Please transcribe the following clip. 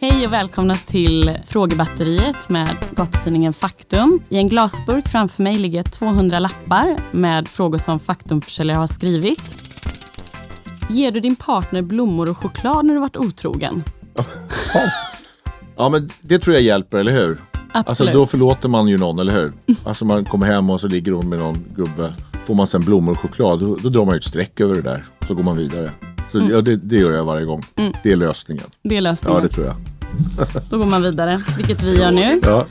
Hej och välkomna till Frågebatteriet med gatutidningen Faktum. I en glasburk framför mig ligger 200 lappar med frågor som Faktumförsäljare har skrivit. Ger du din partner blommor och choklad när du varit otrogen? Ja, men det tror jag hjälper, eller hur? Alltså Absolut. då förlåter man ju någon, eller hur? Alltså man kommer hem och så ligger hon med någon gubbe. Får man sen blommor och choklad, då, då drar man ju ett streck över det där. Så går man vidare. Så ja, det, det gör jag varje gång. Det är lösningen. Det är Ja, lösningen. det tror jag. Då går man vidare, vilket vi gör nu. Ja.